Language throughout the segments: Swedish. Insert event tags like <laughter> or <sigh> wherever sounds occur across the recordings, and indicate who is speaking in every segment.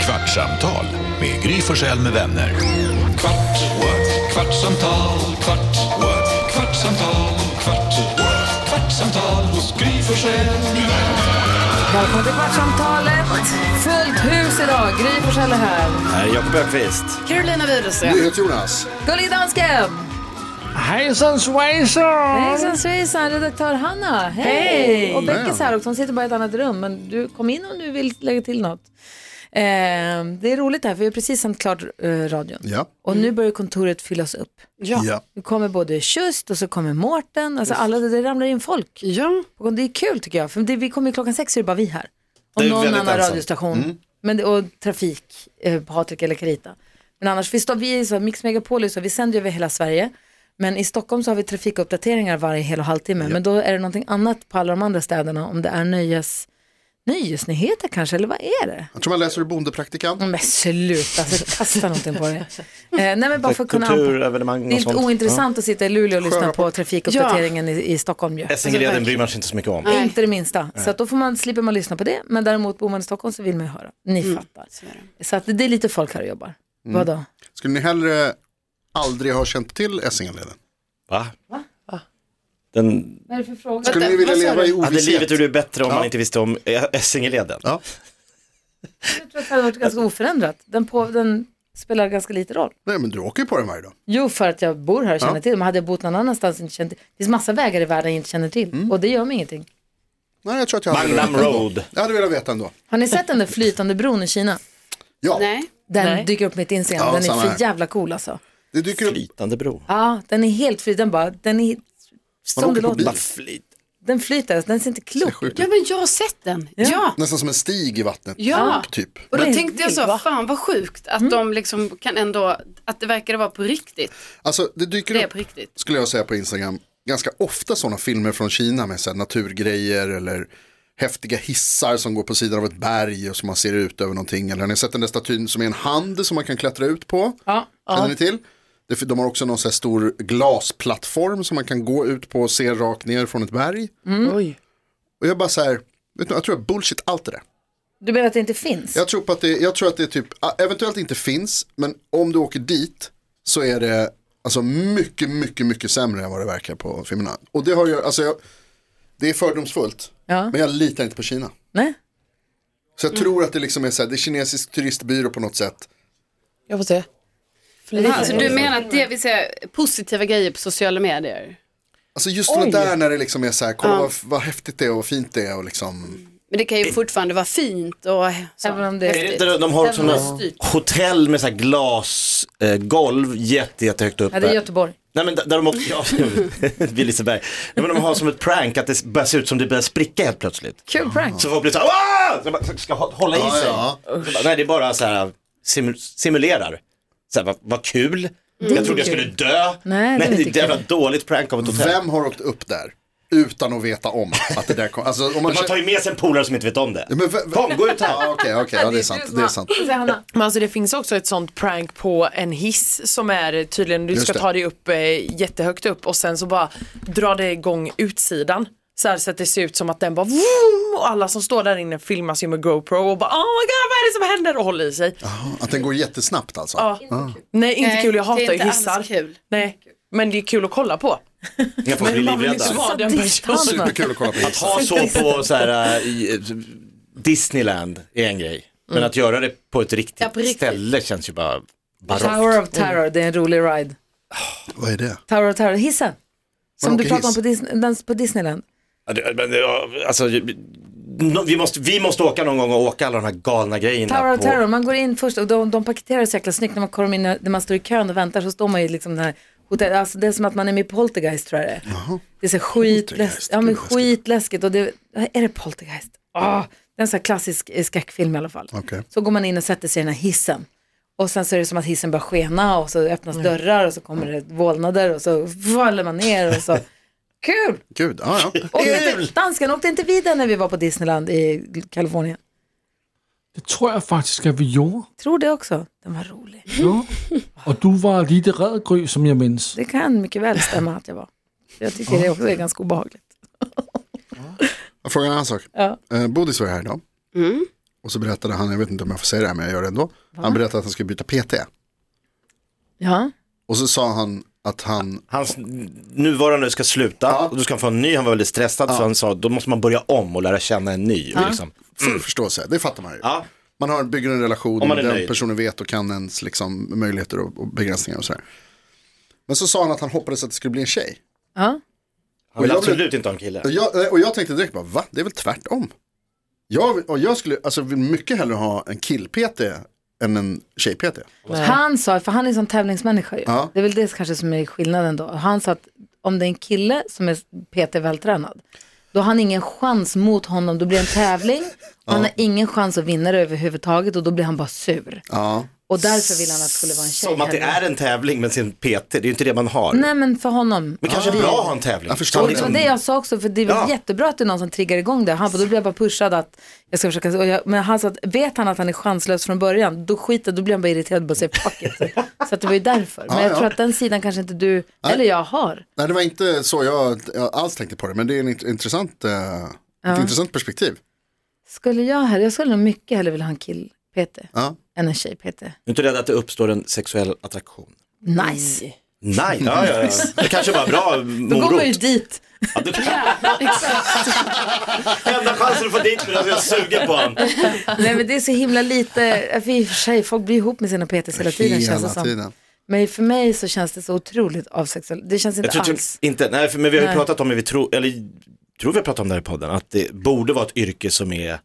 Speaker 1: Kvartsamtal med Gry Forssell med vänner. Kvart, what? kvartsamtal, kvart, what? kvartsamtal, kvart, what? kvartsamtal hos Gry Forssell med vänner.
Speaker 2: Välkommen till Kvartsamtalet! Fullt hus idag. Gry Forssell är här.
Speaker 3: Här är Jakob Öqvist.
Speaker 2: Carolina Widerström.
Speaker 4: Jonas.
Speaker 2: Gullig dansken!
Speaker 5: Hejsan svejsan!
Speaker 2: Hejsan svejsan, redaktör Hanna. Hej! Och Beckis här också. Hon sitter bara i ett annat rum. Men du, kom in om du vill lägga till något. Eh, det är roligt här, för vi har precis sänt klart eh, radion.
Speaker 4: Ja.
Speaker 2: Och nu börjar kontoret fyllas upp.
Speaker 4: Ja.
Speaker 2: Nu kommer både Just och så kommer Mårten. Alltså alla, det ramlar in folk.
Speaker 6: Ja,
Speaker 2: Och det är kul tycker jag, för det, vi kommer ju klockan sex så är det bara vi här. Och
Speaker 3: Det är
Speaker 2: någon
Speaker 3: väldigt
Speaker 2: annan
Speaker 3: ensamt. Mm.
Speaker 2: radiostation. Men, det- och trafik, eh, Patrik eller Carita. Men annars, vi, står, vi är så, här, Mix Megapol är så, vi sänder ju över hela Sverige. Men i Stockholm så har vi trafikuppdateringar varje hel och halvtimme. Men då är det någonting annat på alla de andra städerna. Om det är nöjes, nöjesnyheter kanske, eller vad är det?
Speaker 4: Jag tror man läser i bondepraktikan.
Speaker 2: Men sluta, alltså, kasta någonting på det. Eh, nej men bara för att kunna anpassa.
Speaker 3: Kulturevenemang
Speaker 2: Det är
Speaker 3: och
Speaker 2: inte
Speaker 3: eh, sånt.
Speaker 2: ointressant att sitta i Luleå och lyssna på trafikuppdateringen i, i Stockholm ju.
Speaker 3: Ja. Essingeleden bryr man sig inte så mycket om.
Speaker 6: Nej.
Speaker 2: Inte det minsta. Så att då får man, slipper man lyssna på det. Men däremot bor man i Stockholm så vill man ju höra. Ni
Speaker 4: Mm.
Speaker 2: fattar.
Speaker 6: så är det.
Speaker 2: Så att det är lite folk här och jobbar. Vadå?
Speaker 4: Skulle ni hellre aldrig ha känt till Essingeleden?
Speaker 3: Va? Den
Speaker 2: Vad är det för fråga?
Speaker 4: Skulle ni vilja
Speaker 6: vad sa
Speaker 4: leva i
Speaker 3: hade livet
Speaker 4: ovisshet?
Speaker 3: blivit bättre om
Speaker 4: Ja.
Speaker 3: man inte visste om eh, Essingeleden.
Speaker 4: Ja.
Speaker 2: Jag tror att det hade varit ganska oförändrat. Den, på, den spelar ganska lite roll.
Speaker 4: Nej, men du åker ju på den varje dag.
Speaker 2: Jo, för att jag bor här och känner
Speaker 4: Ja.
Speaker 2: till det. Men hade jag bott någon annanstans och inte känt till. Det finns massa vägar i världen jag inte känner till.
Speaker 4: Mm.
Speaker 2: Och det gör mig ingenting.
Speaker 4: Nej, jag tror att jag hade
Speaker 3: Magnum
Speaker 4: velat ändå.
Speaker 3: Road.
Speaker 4: Jag hade velat veta ändå.
Speaker 2: Har ni sett den där flytande bron i Kina?
Speaker 4: Ja,
Speaker 6: Nej.
Speaker 2: Den
Speaker 7: Nej.
Speaker 2: dyker upp på mitt Instagram.
Speaker 4: Ja,
Speaker 2: den är
Speaker 4: samma
Speaker 2: för
Speaker 4: här.
Speaker 2: jävla cool alltså.
Speaker 4: det dyker upp.
Speaker 3: Flytande bro.
Speaker 2: Ja, den är helt fri. Den bara, den är som
Speaker 4: åker
Speaker 2: det
Speaker 4: på
Speaker 2: låter.
Speaker 4: bil.
Speaker 3: Bara flyt.
Speaker 2: Den flyter, den ser inte klok ut.
Speaker 4: Sjukt.
Speaker 6: ja, men jag har sett den. Ja. ja.
Speaker 4: Nästan som en stig i vattnet. Typ.
Speaker 6: Och då
Speaker 2: Men-
Speaker 6: tänkte jag så, fan vad sjukt
Speaker 2: Mm.
Speaker 6: att de liksom kan ändå, att det verkar vara på riktigt.
Speaker 4: Alltså, det
Speaker 6: Det
Speaker 4: dyker
Speaker 6: är
Speaker 4: upp,
Speaker 6: på riktigt.
Speaker 4: skulle jag säga på Instagram, ganska ofta sådana filmer från Kina med så här, naturgrejer eller häftiga hissar som går på sidan av ett berg och som man ser ut över någonting. Eller har ni sett den där statyn som är en hand som man kan klättra ut på?
Speaker 2: Ja.
Speaker 4: Känner ni till? Det- De har också någon så här stor glasplattform som man kan gå ut på och se rakt ner från ett berg.
Speaker 7: Oj.
Speaker 4: Och jag bara så här, vet du, jag tror jag bullshit allt det där.
Speaker 2: Du menar att det inte finns?
Speaker 4: Jag tror, på att det, jag tror att det typ, ah, eventuellt inte finns, men om du åker dit så är det alltså mycket, mycket, mycket sämre än vad det verkar på filmerna. Och det har ju, alltså jag, det är fördomsfullt,
Speaker 2: Ja.
Speaker 4: men jag litar inte på Kina.
Speaker 2: Nej.
Speaker 4: Så jag tror att det liksom är så här, det är kinesisk turistbyrå på något sätt.
Speaker 7: Jag får se.
Speaker 6: Alltså, du menar att det vill säga positiva grejer på sociala medier?
Speaker 4: Alltså just det där när det liksom är så här, kolla vad, vad häftigt det är och vad fint det är och liksom.
Speaker 6: Men det kan ju fortfarande vara fint och så.
Speaker 2: Även om det-
Speaker 3: Är det
Speaker 6: häftigt.
Speaker 3: inte det- De har också
Speaker 6: Den var
Speaker 3: några
Speaker 6: styrt.
Speaker 3: hotell med så här glasgolv jätte, jättehögt uppe.
Speaker 2: Ja, det är Göteborg.
Speaker 3: Nej men där där de också, ja, <laughs> vid Liseberg. Nej men de har som ett prank att det börjar se ut som det börjar spricka helt plötsligt.
Speaker 2: Kul prank.
Speaker 3: Så folk blir så här, "Aah!" så man ska hå- hålla i
Speaker 4: Ja,
Speaker 3: sig.
Speaker 4: ja.
Speaker 3: Så bara, Nej det är bara så här, simu- simulerar. Så här, vad, vad kul. Jag trodde jag skulle dö.
Speaker 2: Mm. Nej, det är
Speaker 3: det är
Speaker 2: inte
Speaker 3: ett jävla dåligt prank av ett hotell.
Speaker 4: Vem har åkt upp där utan att veta om att det där kom? Alltså, om man
Speaker 3: Man tar ju med sig en polare som inte vet om det.
Speaker 4: Ja, men v- v-
Speaker 3: Kom, gå ut här.
Speaker 4: Ja, okej, okej, ja, det är sant. Det är sant.
Speaker 7: Men alltså det finns också ett sånt prank på en hiss som är tydligen, du
Speaker 4: Just
Speaker 7: ska
Speaker 4: det.
Speaker 7: ta dig upp eh, jättehögt upp och sen så bara dra det igång utsidan. Så, här, så att det ser ut som att den bara vroom, och alla som står där inne filmas ju med GoPro och bara oh my god vad är det som händer och håller i sig.
Speaker 4: Att den går jättesnabbt alltså.
Speaker 7: Ja. Nej inte
Speaker 6: Nej,
Speaker 7: kul, jag hatar
Speaker 6: det är
Speaker 7: ju
Speaker 6: inte alls
Speaker 7: hissar.
Speaker 6: kul.
Speaker 7: Nej, men det är kul att kolla på.
Speaker 3: Jag får bli
Speaker 7: Men man vill
Speaker 3: livrädd.
Speaker 7: inte vara den personen.
Speaker 2: Hanna.
Speaker 4: Superkul att kolla på.
Speaker 3: Att ha så på så här, eh, i, eh, Disneyland är en grej. Men
Speaker 2: Mm.
Speaker 3: att göra det på ett riktigt,
Speaker 6: Ja, på riktigt.
Speaker 3: ställe känns ju bara barockt.
Speaker 2: Tower of Terror, det är en rolig ride.
Speaker 4: Vad är det?
Speaker 2: Tower of Terror, hissen. Som
Speaker 4: Man
Speaker 2: du
Speaker 4: åker
Speaker 2: pratade om
Speaker 4: hiss.
Speaker 2: på, Disney, dans på Disneyland.
Speaker 3: Ja, det- men det- ja, Alltså, no- vi, måste, vi måste åka någon gång och åka alla de här galna grejerna.
Speaker 2: Tower of
Speaker 3: på...
Speaker 2: Terror, man går in först och de, de paketerar så jäkla snyggt när man kommer in, när man står i kön och väntar så står man ju liksom den här hotell, alltså det är som att man är med i Poltergeist tror jag det är. Det är så skitläskigt,
Speaker 4: Poltergeist,
Speaker 2: ja men
Speaker 4: gud, läskigt.
Speaker 2: skitläskigt och det, är det Poltergeist? Åh, det är en sån här klassisk eh, skräckfilm i alla fall.
Speaker 4: Okej.
Speaker 2: Så går man in och sätter sig i den här hissen. Och sen så är det som att hissen börjar skena och så öppnas dörrar och så kommer det vålnader och så faller man ner och så. Kul!
Speaker 4: Gud, ja, <laughs> ja.
Speaker 2: Och inte, danskan åkte inte vi där när vi var på Disneyland i Kalifornien?
Speaker 5: Det tror jag faktiskt att vi gjorde.
Speaker 2: Tror det också. Den var rolig.
Speaker 5: Ja. Och du var lite rädd Gry, som jag minns.
Speaker 2: Det kan mycket väl stämma att jag var. Jag tycker det också är ganska obehagligt.
Speaker 4: Jag frågar en annan sak.
Speaker 2: Ja.
Speaker 4: Eh, Bodis var här idag.
Speaker 6: Mm.
Speaker 4: Och så berättade han, jag vet inte om jag får säga det här men jag gör det ändå. Han berättade att han skulle byta PT.
Speaker 2: Ja.
Speaker 4: Och så sa han att han,
Speaker 3: Hans nuvarande ska sluta och då ska han få en ny. Han var väldigt stressad så han sa då måste man börja om och lära känna en ny. Liksom.
Speaker 4: full förståelse, det fattar man ju.
Speaker 3: Ja.
Speaker 4: Man har, bygger en relation,
Speaker 3: Om
Speaker 4: och
Speaker 3: man är
Speaker 4: den
Speaker 3: nöjd.
Speaker 4: personen vet och kan ens liksom, möjligheter och, och begränsningar och sådär. Men så sa han att han hoppades att det skulle bli en tjej.
Speaker 2: Ja.
Speaker 3: Han vill
Speaker 4: jag blev-
Speaker 3: absolut inte ha en kille.
Speaker 4: Och jag, eh, och jag tänkte direkt bara, va? Det är väl tvärtom. Jag, och jag skulle alltså, vill mycket hellre ha en kill-PT än en tjej-PT.
Speaker 2: Han sa, för han är en sån tävlingsmänniska ju.
Speaker 4: Ja.
Speaker 2: Det är väl det kanske som är skillnaden då. Och Han sa att om det är en kille som är PT vältränad, då har han ingen chans mot honom. Då blir det en tävling och han har ingen chans att vinna det överhuvudtaget och då blir han bara sur.
Speaker 4: Ja.
Speaker 2: Och därför vill han att det skulle vara en tjej.
Speaker 3: Som att det
Speaker 2: hellre.
Speaker 3: är en tävling med sin PT, det är ju inte det man har.
Speaker 2: Nej men för honom.
Speaker 3: Men kanske är bra att ha en tävling.
Speaker 4: Jag förstår
Speaker 3: Så
Speaker 4: det.
Speaker 2: Det var
Speaker 3: liksom-
Speaker 2: det jag sa också, för det är väl
Speaker 3: Ja.
Speaker 2: jättebra att det är någon som triggar igång det. Han bara, då blir jag bara pushad att jag ska försöka. Och jag, men han sa att vet han att han är chanslös från början, då skiter då blir han bara irriterad på sig fuck it. Så att det var ju därför. Men
Speaker 4: Ja,
Speaker 2: jag
Speaker 4: ja.
Speaker 2: tror att den sidan kanske inte du, eller jag har.
Speaker 4: Nej, det var inte så jag, jag alls tänkte på det, men det är en int- intressant, eh, ett intressant perspektiv.
Speaker 2: Skulle jag här, jag skulle nog mycket hellre vilja ha en kill-PT
Speaker 4: Ja.
Speaker 2: än en tjej-PT.
Speaker 3: Är du inte rädd att det uppstår en sexuell attraktion?
Speaker 2: Nice.
Speaker 3: Nej, ja, ja, ja. det kanske bara är bra
Speaker 2: Då går man ju
Speaker 3: morot.
Speaker 2: dit.
Speaker 3: Ja, du- Enda chansen att få dit mig är att jag suger på honom.
Speaker 2: Nej men det är så himla lite, för i och för sig, folk blir ihop med sina PTs hela tiden känns det
Speaker 4: Hela
Speaker 2: som.
Speaker 4: tiden.
Speaker 2: Men för mig så känns det så otroligt avsexuellt. Det känns
Speaker 3: Jag
Speaker 2: inte
Speaker 3: tror typ
Speaker 2: alls.
Speaker 3: inte, nej, för, men vi har ju
Speaker 2: Nej.
Speaker 3: pratat om, det, vi tror, eller tror vi har pratat om det här i podden, att det borde vara ett yrke som är,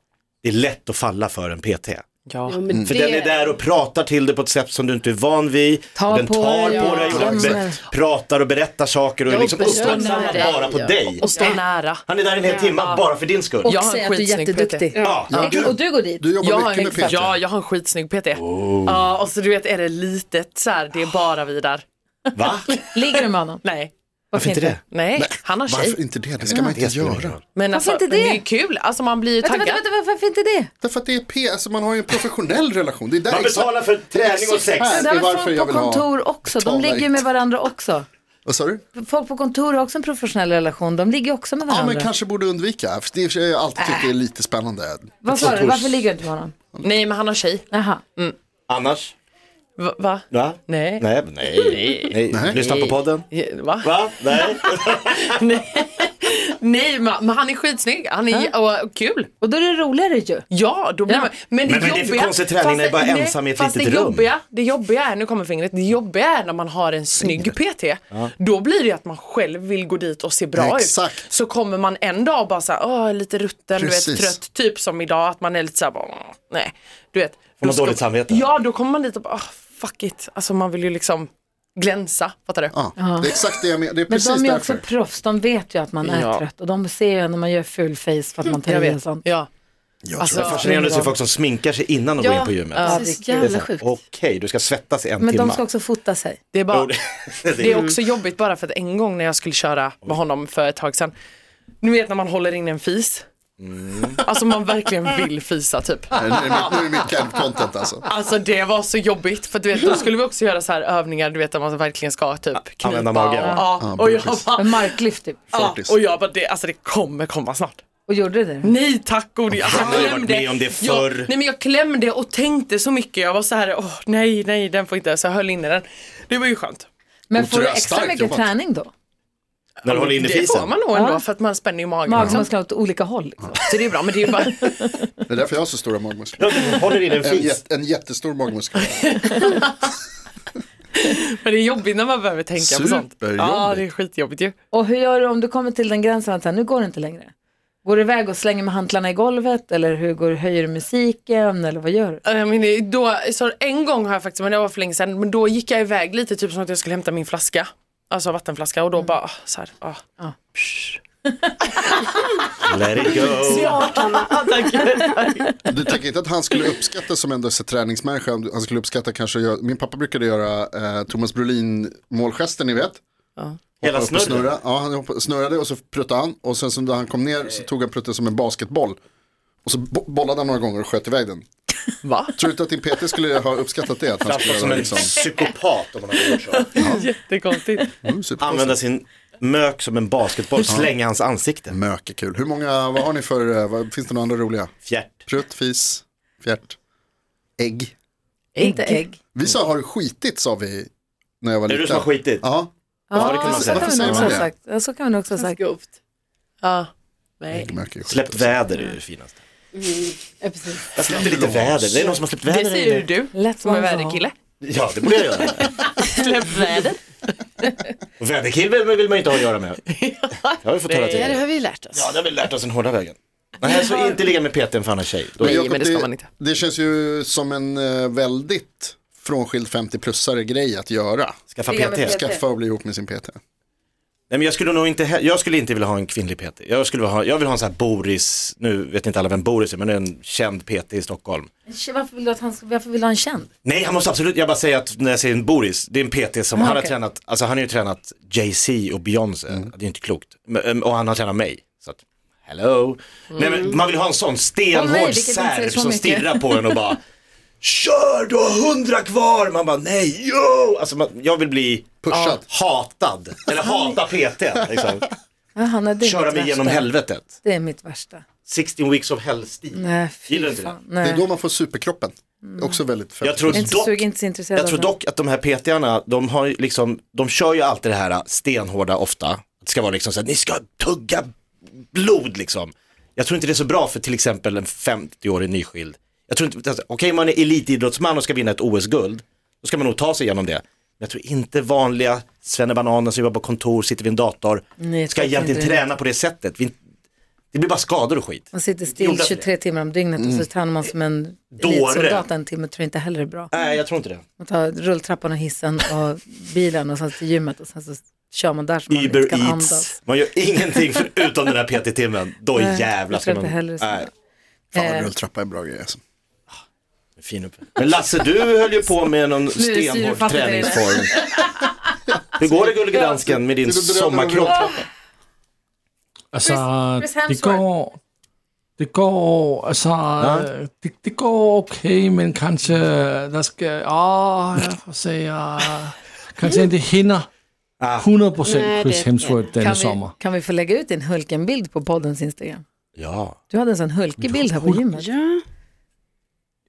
Speaker 3: det är lätt att falla för en PT.
Speaker 7: Ja.
Speaker 6: Ja, men
Speaker 3: Mm. För den är där och pratar till dig på ett sätt som du inte är van vid.
Speaker 2: Tar
Speaker 3: och den
Speaker 2: på
Speaker 3: tar
Speaker 2: dig,
Speaker 3: på
Speaker 2: ja.
Speaker 3: dig och den be-
Speaker 2: Klämmer.
Speaker 3: pratar och berättar saker och är
Speaker 6: Ja,
Speaker 3: liksom
Speaker 6: berör
Speaker 3: uppmärksammad
Speaker 6: dig.
Speaker 3: bara på
Speaker 6: Ja.
Speaker 3: dig.
Speaker 7: Och stå nära.
Speaker 3: Han är där en hel timme bara för din skull.
Speaker 2: Och
Speaker 7: Jag har en
Speaker 2: säga att du är
Speaker 7: skitsnygg
Speaker 2: jätteduktig.
Speaker 3: Ja.
Speaker 2: Exakt, Och du går dit.
Speaker 4: Du jobbar
Speaker 7: Jag har,
Speaker 4: mycket
Speaker 7: en,
Speaker 4: med PT.
Speaker 7: ja, jag har en skitsnygg PT. Ja, och så du vet är det litet så här, det är bara vi där.
Speaker 3: Va?
Speaker 2: Ligger du med honom?
Speaker 7: Nej,
Speaker 2: Varför
Speaker 3: Inte det?
Speaker 7: nej, han har tjej.
Speaker 4: Varför inte det? Det ska man inte göra.
Speaker 7: Men alltså,
Speaker 2: inte
Speaker 7: men det
Speaker 2: det?
Speaker 7: är ju kul, alltså man blir ju
Speaker 2: Vänta,
Speaker 7: taggad.
Speaker 2: vänta, vänta, varför inte det?
Speaker 4: Därför att det är P, alltså man har ju en professionell relation. Det är där
Speaker 3: Man
Speaker 4: exakt-
Speaker 3: betalar för träning och sex.
Speaker 2: Men
Speaker 4: här.
Speaker 2: det
Speaker 4: är
Speaker 2: har
Speaker 4: varför
Speaker 2: väl
Speaker 4: jag
Speaker 2: folk på
Speaker 4: vill ha
Speaker 2: kontor också, de
Speaker 4: betala
Speaker 2: ligger ju med
Speaker 4: hit.
Speaker 2: varandra också.
Speaker 4: Vad sa du?
Speaker 2: Folk på kontor har också en professionell relation, de ligger ju också med
Speaker 4: Ja,
Speaker 2: varandra.
Speaker 4: men kanske borde undvika. För det har jag alltid tyckt är lite spännande.
Speaker 2: Vad sa du, varför ligger du inte med honom?
Speaker 7: Nej, men han har tjej.
Speaker 2: Jaha.
Speaker 3: Annars?
Speaker 7: Va? va?
Speaker 3: Va?
Speaker 7: Nej.
Speaker 3: Nej, nej, nej. Lyssna på podden.
Speaker 7: Ja, Va?
Speaker 3: Va? Nej.
Speaker 7: Nej, men men han är skitsnygg, han är och, och kul.
Speaker 2: Och då är det roligare ju.
Speaker 7: Ja, då blir man... Men det
Speaker 3: Men vad är det för
Speaker 7: jobbiga-
Speaker 3: konstig träning
Speaker 7: fast
Speaker 3: när det bara är
Speaker 7: nej,
Speaker 3: ensam i ett
Speaker 7: fast
Speaker 3: litet
Speaker 7: det
Speaker 3: rum?
Speaker 7: Jobbiga, det jobbiga är, nu kommer fingret, det jobbiga är när man har en snygg PT. Då blir det ju att man själv vill gå dit och se bra ut.
Speaker 4: Exakt.
Speaker 7: Så kommer man en dag och bara såhär, åh lite rutten, du
Speaker 4: Precis.
Speaker 7: vet trött, typ som idag att man är lite såhär, bara, "Åh, nej, du vet. Får
Speaker 3: man dåligt samvete?
Speaker 7: Ja, då kommer man dit och bara, åh fuck it, alltså man vill ju liksom glänsa, fattar du?
Speaker 4: Ja, det är exakt det jag menar. Det är
Speaker 2: Men
Speaker 4: precis
Speaker 2: de är ju också
Speaker 4: därför.
Speaker 2: proffs, de vet ju att man är
Speaker 7: Ja.
Speaker 2: trött och de ser ju när man gör full face för att man tar
Speaker 7: Jag
Speaker 2: i en
Speaker 7: vet.
Speaker 2: sån.
Speaker 7: Ja.
Speaker 4: Jag
Speaker 7: Alltså,
Speaker 4: tror Mm. det.
Speaker 3: Fascinerande att se folk som sminkar sig innan de går in på gymmet.
Speaker 2: Ja,
Speaker 6: Det är så
Speaker 2: det är kul.
Speaker 6: jävla
Speaker 3: Så här,
Speaker 6: sjukt.
Speaker 3: Okej, du ska svettas i en
Speaker 2: Men
Speaker 3: timme.
Speaker 2: de ska också fota sig.
Speaker 7: Det är bara,
Speaker 3: Jo, det- <laughs> det är-
Speaker 7: Det är också jobbigt bara för att en gång när jag skulle köra med honom för ett tag sedan. Nu vet när man håller in en fis.
Speaker 3: Mm.
Speaker 7: Alltså man verkligen vill fisa typ.
Speaker 4: Nu är det mitt- nu är det mitt camp content alltså.
Speaker 7: Alltså det var så jobbigt för att du vet då skulle vi också göra så här övningar du vet där man verkligen ska typ knipa
Speaker 3: använda magen.
Speaker 7: och, ja, och jag
Speaker 4: precis.
Speaker 7: bara,
Speaker 2: En marklyft typ.
Speaker 7: ja,
Speaker 4: fartis.
Speaker 7: och jag bara det, alltså det kommer komma snart.
Speaker 2: Och gjorde det.
Speaker 4: Mm.
Speaker 7: Nej tack gode jag
Speaker 3: Han har ju varit med om det
Speaker 7: Jag,
Speaker 3: förr.
Speaker 7: nej men jag klämde och tänkte så mycket. Jag var så här, åh nej nej den får inte, så jag höll inne den. Det var ju skönt.
Speaker 2: Men
Speaker 4: Då
Speaker 2: får
Speaker 4: tror
Speaker 2: du
Speaker 4: jag
Speaker 2: extra
Speaker 4: starkt
Speaker 2: mycket
Speaker 4: jobbat.
Speaker 2: träning då?
Speaker 3: När du håller in i
Speaker 7: Det får
Speaker 3: fisen.
Speaker 7: man nog ändå
Speaker 2: Ja.
Speaker 7: för att man spänner ju magen. liksom.
Speaker 2: Magmusklerna åt olika håll. Liksom.
Speaker 7: Så det är bra men det är ju bara
Speaker 4: Det är därför jag har så stora magmuskler.
Speaker 3: Håller in en
Speaker 4: En,
Speaker 3: fis.
Speaker 4: jätte- en jättestor magmuskel.
Speaker 7: Men det är jobbigt när man behöver tänka på sånt.
Speaker 4: Superjobbigt.
Speaker 7: Ja, det är skitjobbigt ju.
Speaker 2: Och hur gör du om du kommer till den gränsen att så här, nu går det inte längre? Går du iväg och slänger med hantlarna i golvet eller hur går, höjer du musiken eller vad gör du?
Speaker 7: Äh, Men det- då, så en gång har jag faktiskt, men det var för länge sedan, men då gick jag iväg lite typ som att jag skulle hämta min flaska. Alltså vattenflaska och då bara ah, så här, ah.
Speaker 3: Let it go.
Speaker 4: Du tänker inte att han skulle uppskatta som ändå så träningsmänniska, om du- han skulle uppskatta kanske, att göra, min pappa brukade göra eh, Thomas Brolin målgesten ni vet.
Speaker 3: Hela
Speaker 4: Hoppa upp och
Speaker 3: snurren.
Speaker 4: snurra. Ja, han hoppade, snurrade och så pruttade han och sen så när han kom ner så tog han prutten som en basketboll. Och så bo- bollade han några gånger och sköt iväg den.
Speaker 7: Va?
Speaker 4: Tror du inte att din PT skulle ha uppskattat det? Att han skulle
Speaker 3: Framstår som
Speaker 4: göra
Speaker 3: en
Speaker 4: liksom,
Speaker 3: psykopat om man har gjort
Speaker 7: <laughs>
Speaker 3: så.
Speaker 7: Jättekonstigt.
Speaker 4: mm, superkonstigt.
Speaker 3: Använda sin mök som en basketboll, slänga hans ansikte.
Speaker 4: Mök är kul. Hur många, vad har ni för, eh, vad, finns det några andra roliga?
Speaker 3: Fjärt.
Speaker 4: Prutt, fis, fjärt, ägg.
Speaker 2: Inte ägg.
Speaker 4: Vi sa har du skitit sa vi när jag var
Speaker 3: Är det
Speaker 4: liten.
Speaker 3: du som har skitit?
Speaker 4: Ja,
Speaker 3: Ja, det kan man
Speaker 2: så
Speaker 3: säga.
Speaker 2: kan vi nog
Speaker 4: Varför
Speaker 2: också
Speaker 4: säger
Speaker 2: ha
Speaker 4: man
Speaker 2: sagt. Ja, så kan vi nog också ha sagt.
Speaker 6: Grovt. Ja. Nej.
Speaker 4: äggmöka är skit.
Speaker 3: Släppt väder är ju det finaste.
Speaker 6: Ja, precis.
Speaker 3: Jag släppte lite väder, det är någon som har släppt väder.
Speaker 7: Det säger ju du
Speaker 2: Lätt
Speaker 7: som är
Speaker 2: man sa.
Speaker 7: väderkille.
Speaker 3: Ja, det borde jag göra.
Speaker 7: <laughs> Släpp väder.
Speaker 3: Och väderkillen vill man ju inte ha att göra med. Jag har ju fått höra till.
Speaker 6: Ja, det
Speaker 3: det.
Speaker 6: har vi ju lärt oss.
Speaker 3: Ja, det har vi lärt oss den hårda vägen. Nej, alltså inte ligga med PT en fan är tjej. Då
Speaker 7: Nej,
Speaker 3: är
Speaker 7: men det ska man inte.
Speaker 4: Det känns ju som en eh, väldigt frånskild 50-plussare grej att göra.
Speaker 3: skaffa
Speaker 2: Ligga
Speaker 3: PT.
Speaker 2: med PT.
Speaker 4: Skaffa och bli ihop med sin PT.
Speaker 3: Nej, men jag skulle nog inte, he- jag skulle inte vilja ha en kvinnlig PT. Jag skulle vilja ha, jag vill ha en sån här Boris, nu vet inte alla vem Boris är, men det är en känd PT i Stockholm.
Speaker 2: Varför vill du att han ska, varför vill du ha en känd?
Speaker 3: Nej, han måste absolut, jag bara säger att när jag säger en Boris, det är en PT som,
Speaker 2: Ah,
Speaker 3: han har
Speaker 2: okej.
Speaker 3: tränat, alltså han har ju tränat Jay-Z och Beyoncé, det är inte klokt. Men, em, och han har tränat mig, så att, hello. Nej men man vill ha en sån
Speaker 2: Mm. Åh, nej,
Speaker 3: stenhård
Speaker 2: vilket inte säger
Speaker 3: serb
Speaker 2: så
Speaker 3: som
Speaker 2: mycket.
Speaker 3: stirrar på en
Speaker 2: <laughs>
Speaker 3: och bara, kör du har hundra kvar! Man bara, nej, jo! Alltså man, jag vill bli
Speaker 4: Pushad.
Speaker 3: hatad, eller hata PT, liksom.
Speaker 2: Ja, Hanna, det är
Speaker 3: köra
Speaker 2: mitt
Speaker 3: mig genom
Speaker 2: värsta.
Speaker 3: helvetet.
Speaker 2: Det är mitt värsta.
Speaker 3: 16 weeks of hell-stil.
Speaker 2: Nej, fy
Speaker 3: Gillar du inte
Speaker 2: fan.
Speaker 4: Det är
Speaker 2: Nej.
Speaker 4: då man får superkroppen.
Speaker 2: Mm.
Speaker 4: Också väldigt
Speaker 3: Jag
Speaker 4: fett.
Speaker 3: tror
Speaker 2: Jag är inte
Speaker 3: dock,
Speaker 2: sugen, inte så intresserad
Speaker 3: jag tror
Speaker 2: av det.
Speaker 3: dock att de här PTarna, de har ju liksom, de kör ju alltid det här stenhårda ofta. Det ska vara liksom så här, ni ska tugga blod liksom. Jag tror inte det är så bra för till exempel en 50-årig nyskild. Jag tror inte, alltså, okej man är elitidrottsman och ska vinna ett OS-guld, då ska man nog ta sig igenom det. Men jag tror inte vanliga svennebananer som jobbar på kontor, sitter vid en dator,
Speaker 2: Nej, jag
Speaker 3: ska
Speaker 2: tror
Speaker 3: egentligen
Speaker 2: inte det.
Speaker 3: träna på det sättet. Vi, det blir bara skador och skit.
Speaker 2: Man sitter
Speaker 3: Gjorde
Speaker 2: still
Speaker 3: jag Mm.
Speaker 2: 23 timmar om dygnet och så tränar man som en
Speaker 3: Dåre.
Speaker 2: elitsoldat en timme, tror jag inte heller är bra.
Speaker 3: Nej, jag tror inte det.
Speaker 2: Man tar rulltrappan och hissen och bilen och sen till gymmet och sen så kör man där som man inte
Speaker 3: Uber
Speaker 2: kan andas.
Speaker 3: Eats, man gör ingenting förutom den här PT-timmen, då
Speaker 2: Nej,
Speaker 3: jävlar
Speaker 2: jag
Speaker 3: ska
Speaker 2: tror
Speaker 3: man...
Speaker 2: inte heller så.
Speaker 3: Nej,
Speaker 4: Fan
Speaker 2: Eh.
Speaker 4: vad rulltrappa är bra grej alltså.
Speaker 3: fin upp. Men Lasse, du höll ju på med någon stenhård
Speaker 2: syrefattigt.
Speaker 3: träningsform.
Speaker 2: <laughs>
Speaker 3: Hur går det gullige dansken med din
Speaker 4: Det går bra,
Speaker 3: sommarkropp?
Speaker 4: det
Speaker 5: Altså,
Speaker 2: Chris
Speaker 5: det
Speaker 2: Hemsworth.
Speaker 5: går... Det går, altså, øh, det, det går okay, men kanskje, der skal, åh, jeg får se, jeg, kanskje ikke hænder 100%
Speaker 6: Nej,
Speaker 5: Chris
Speaker 6: det-
Speaker 5: Hemsworth denne
Speaker 2: Kan vi,
Speaker 5: sommer.
Speaker 2: kan vi få lägga ut din Hulken-bild på poddens Instagram?
Speaker 3: Ja,
Speaker 2: Du hade en sån hulkig bild här på gymmet.
Speaker 6: Ja.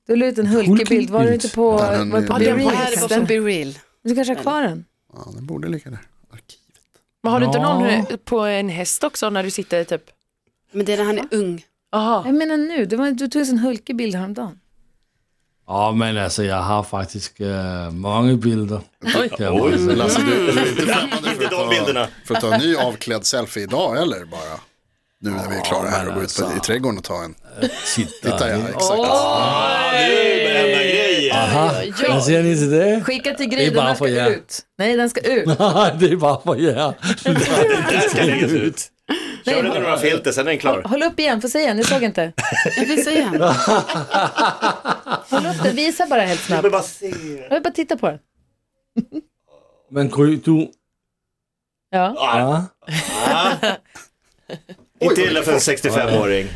Speaker 2: Du la ut en hulkig
Speaker 5: Hulkig
Speaker 2: bild, var du
Speaker 5: bild?
Speaker 2: inte på,
Speaker 4: Ja, den-
Speaker 2: var du på
Speaker 4: Ja,
Speaker 6: det
Speaker 4: den
Speaker 2: Be Real
Speaker 6: här var
Speaker 2: kanske?
Speaker 6: från Be Real.
Speaker 2: Du kanske har kvar den?
Speaker 4: Ja, den borde ligga där. Arkiv.
Speaker 7: Men har du inte någon
Speaker 5: Ja.
Speaker 7: eh, på en häst också när du sitter typ?
Speaker 6: Men det är när han är ung.
Speaker 7: Aha.
Speaker 2: Jag menar nu, det var, du tog en sån hulkig bild häromdagen.
Speaker 5: Åh, men altså, jeg har faktisk øh, mange billeder. Der, hvor jeg
Speaker 4: Men Lasse, du, du är inte främmande för
Speaker 3: inte
Speaker 4: att,
Speaker 3: Mm. de
Speaker 4: ta,
Speaker 3: bilderna.
Speaker 4: för att ta en ny avklädd selfie idag eller bara? Nu när vi är klara här och går ut på, i trädgården och ta en.
Speaker 3: Eh,
Speaker 5: titter.
Speaker 4: Titta ja, exakt.
Speaker 3: Ja, Ah, nu börjar det hända grejer.
Speaker 5: Aha, hvad siger ni til det? <laughs>
Speaker 2: Skicka till
Speaker 5: Det
Speaker 2: Gry,
Speaker 5: är
Speaker 2: den
Speaker 5: bara
Speaker 2: här
Speaker 5: för
Speaker 2: ska
Speaker 5: er.
Speaker 2: ut. Nej, den ska ut.
Speaker 5: Nej, det er bare for jer.
Speaker 3: Det här ska läggas ut. Kör den med några filter, sen är den klar.
Speaker 2: Håll upp igen, för säg igen, jag såg inte.
Speaker 6: Jag visar igen.
Speaker 2: Håll upp den, visa bara helt
Speaker 3: Jag
Speaker 2: snabbt.
Speaker 3: vill bara se.
Speaker 2: Jag vill bara titta på den.
Speaker 5: Men Gry, du...
Speaker 2: Ja.
Speaker 5: Ja.
Speaker 3: Inte illa för en 65-åring.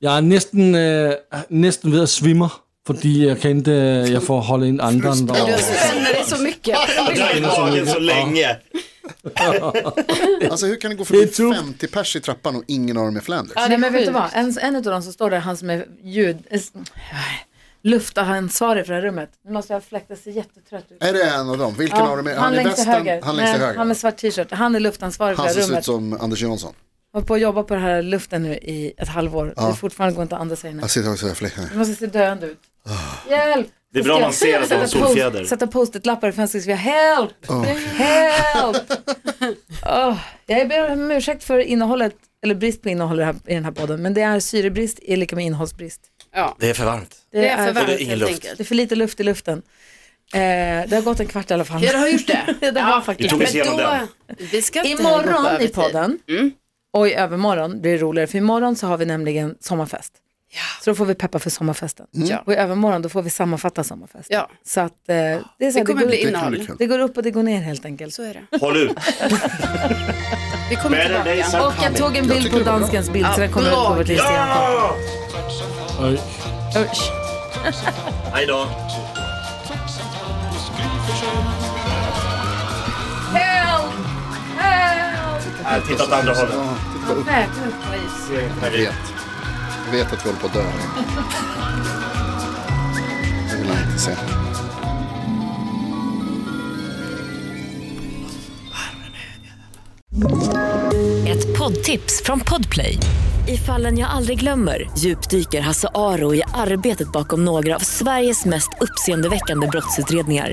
Speaker 5: Jeg er næsten, øh, næsten ved at svimmer, fordi jeg kendte, øh, jeg får holde en anden. Og...
Speaker 6: Du har spänner dig så mycket.
Speaker 3: Jag har dragit magen så länge.
Speaker 4: Alltså hur kan det gå
Speaker 5: Det
Speaker 4: förbi
Speaker 5: är tungt.
Speaker 4: 50 pers i trappan och ingen av dem är Flanders?
Speaker 2: Nej, men vet du vad? En, en av dem som står där, han som är ljud... eh, s- luftansvarig för det här rummet. Nu måste jag fläkta, ser jättetrött ut.
Speaker 4: Är det en av dem? Vilken av dem är?
Speaker 2: han
Speaker 4: i
Speaker 2: längst till
Speaker 4: västen?
Speaker 2: höger.
Speaker 4: Han längst till
Speaker 2: Nej,
Speaker 4: höger.
Speaker 2: han med svart t-shirt. Han är luftansvarig för
Speaker 4: Han
Speaker 2: det här
Speaker 4: som ser ut
Speaker 2: rummet.
Speaker 4: som Anders Jansson.
Speaker 2: Håller på att jobba på den här luften nu i ett halvår. Det fortfarande går inte att andas här inne.
Speaker 4: Jag sitter också här fläcken.
Speaker 2: Du måste se döende ut. Hjälp!
Speaker 3: Det är bra man ser att de har
Speaker 2: Sätta
Speaker 3: solfjäder.
Speaker 2: post- Sätta post-it-lappar i fönstret och skriva help! Help! Åh, jag ber om ursäkt för innehållet, eller brist på innehåll i det här- i den här podden, men det är syrebrist är lika med innehållsbrist.
Speaker 6: Ja.
Speaker 3: Det är för varmt.
Speaker 6: Det är för
Speaker 2: det
Speaker 6: varmt
Speaker 3: ingen
Speaker 6: helt
Speaker 3: luft.
Speaker 6: enkelt.
Speaker 2: är för lite luft i luften. Eh, det har gått en kvart i alla fall.
Speaker 6: Ja, det har gjort det.
Speaker 2: Det har
Speaker 3: Vi
Speaker 2: faktiskt.
Speaker 3: tog oss igenom den.
Speaker 6: Då, vi ska inte gå på
Speaker 2: Imorgon i
Speaker 6: övertid. Mm.
Speaker 2: podden, och i övermorgon blir det roligare, för imorgon så har vi nämligen sommarfest. Så då får vi peppa för sommarfesten.
Speaker 6: Ja.
Speaker 2: Och i övermorgon då får vi sammanfatta sommarfesten.
Speaker 6: Ja,
Speaker 2: Så att eh, det är så här,
Speaker 6: det kommer
Speaker 2: går-
Speaker 6: bli
Speaker 4: Det kan bli
Speaker 6: innehåll.
Speaker 4: kul.
Speaker 2: Det går upp och det går ner helt enkelt.
Speaker 6: Så är det.
Speaker 3: Håll ut.
Speaker 6: Vi kommer
Speaker 3: Better days
Speaker 6: tillbaka.
Speaker 3: are
Speaker 2: Och jag tog en bild på danskens bild så den kommer upp på vårt Instagram.
Speaker 3: Ja!
Speaker 5: Øj.
Speaker 2: Usch.
Speaker 3: Hej då.
Speaker 2: Help! Help!
Speaker 3: Äh, Titta åt andra hållet.
Speaker 2: Vad värt upp, vad is.
Speaker 4: Jag vet. vet att vi håller på att dö. Det vill han inte se.
Speaker 8: Ett poddtips från Podplay. I fallen jag aldrig glömmer djupdyker Hasse Aro i arbetet bakom några av Sveriges mest uppseendeväckande brottsutredningar.